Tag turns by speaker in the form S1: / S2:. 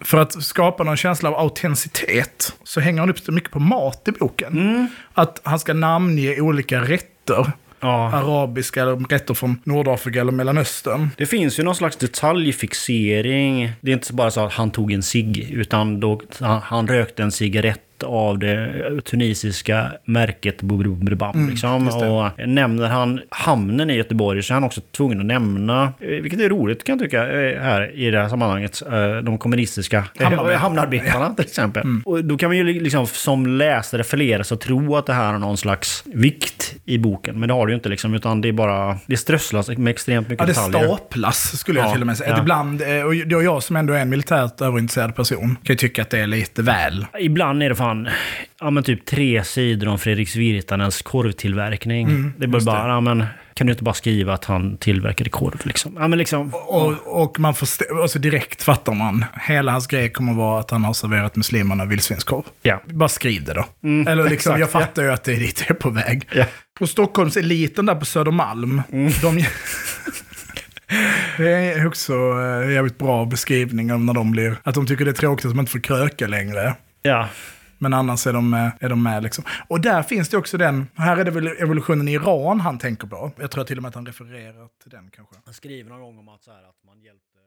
S1: För att skapa någon känsla av autenticitet så hänger han upp det mycket på mat i boken. Att han ska namnge olika rätter.
S2: Mm. Ja.
S1: Arabiska eller rätter från Nordafrika eller Mellanöstern.
S2: Det finns ju någon slags detaljfixering. Det är inte bara så att han tog en cigg, utan då, han, han rökte en cigarett av det tunisiska märket Boubrubam.
S1: Mm,
S2: liksom. Och nämner han hamnen i Göteborg så är han också tvungen att nämna, eh, vilket är roligt kan jag tycka, eh, här i det här sammanhanget, eh, de kommunistiska eh,
S1: Hamnarbetarna. Mm.
S2: hamnarbetarna till exempel. Och då kan man ju li- liksom som läsare förledas att tro att det här har någon slags vikt i boken. Men det har det ju inte liksom, utan det är bara, det strösslas med extremt mycket
S1: Ja, det
S2: detaljer.
S1: staplas skulle jag
S2: Ja,
S1: till och med säga.
S2: ja.
S1: Ibland, eh, och då jag som ändå är en militärt överintresserad person, kan ju tycka att det är lite väl.
S2: Ibland är det fan ja, men typ tre sidor om Fredrik Virtanens korvtillverkning. Mm, det blir bara, ja, men, kan du inte bara skriva att han tillverkade korv? Liksom? Ja, men liksom,
S1: Och, och man förstår, alltså direkt fattar man. Hela hans grej kommer vara att han har serverat muslimerna vildsvinskorv.
S2: ja.
S1: Bara skriv det då. Eller liksom,
S2: Mm, exakt,
S1: jag fattar ju att det är dit jag är på väg.
S2: Ja. Mm.
S1: Och Stockholmseliten där på Södermalm, de... Det är också eh, jävligt bra beskrivning av när de blir, att de tycker det är tråkigt att man inte får kröka längre.
S2: ja.
S1: Men annars är de, med- är de med liksom. Och där finns det också den, här är det väl evolutionen i Iran han tänker på. Jag tror till och med att han refererar till den kanske.
S2: Han skriver någon gång om att, så här, att man hjälper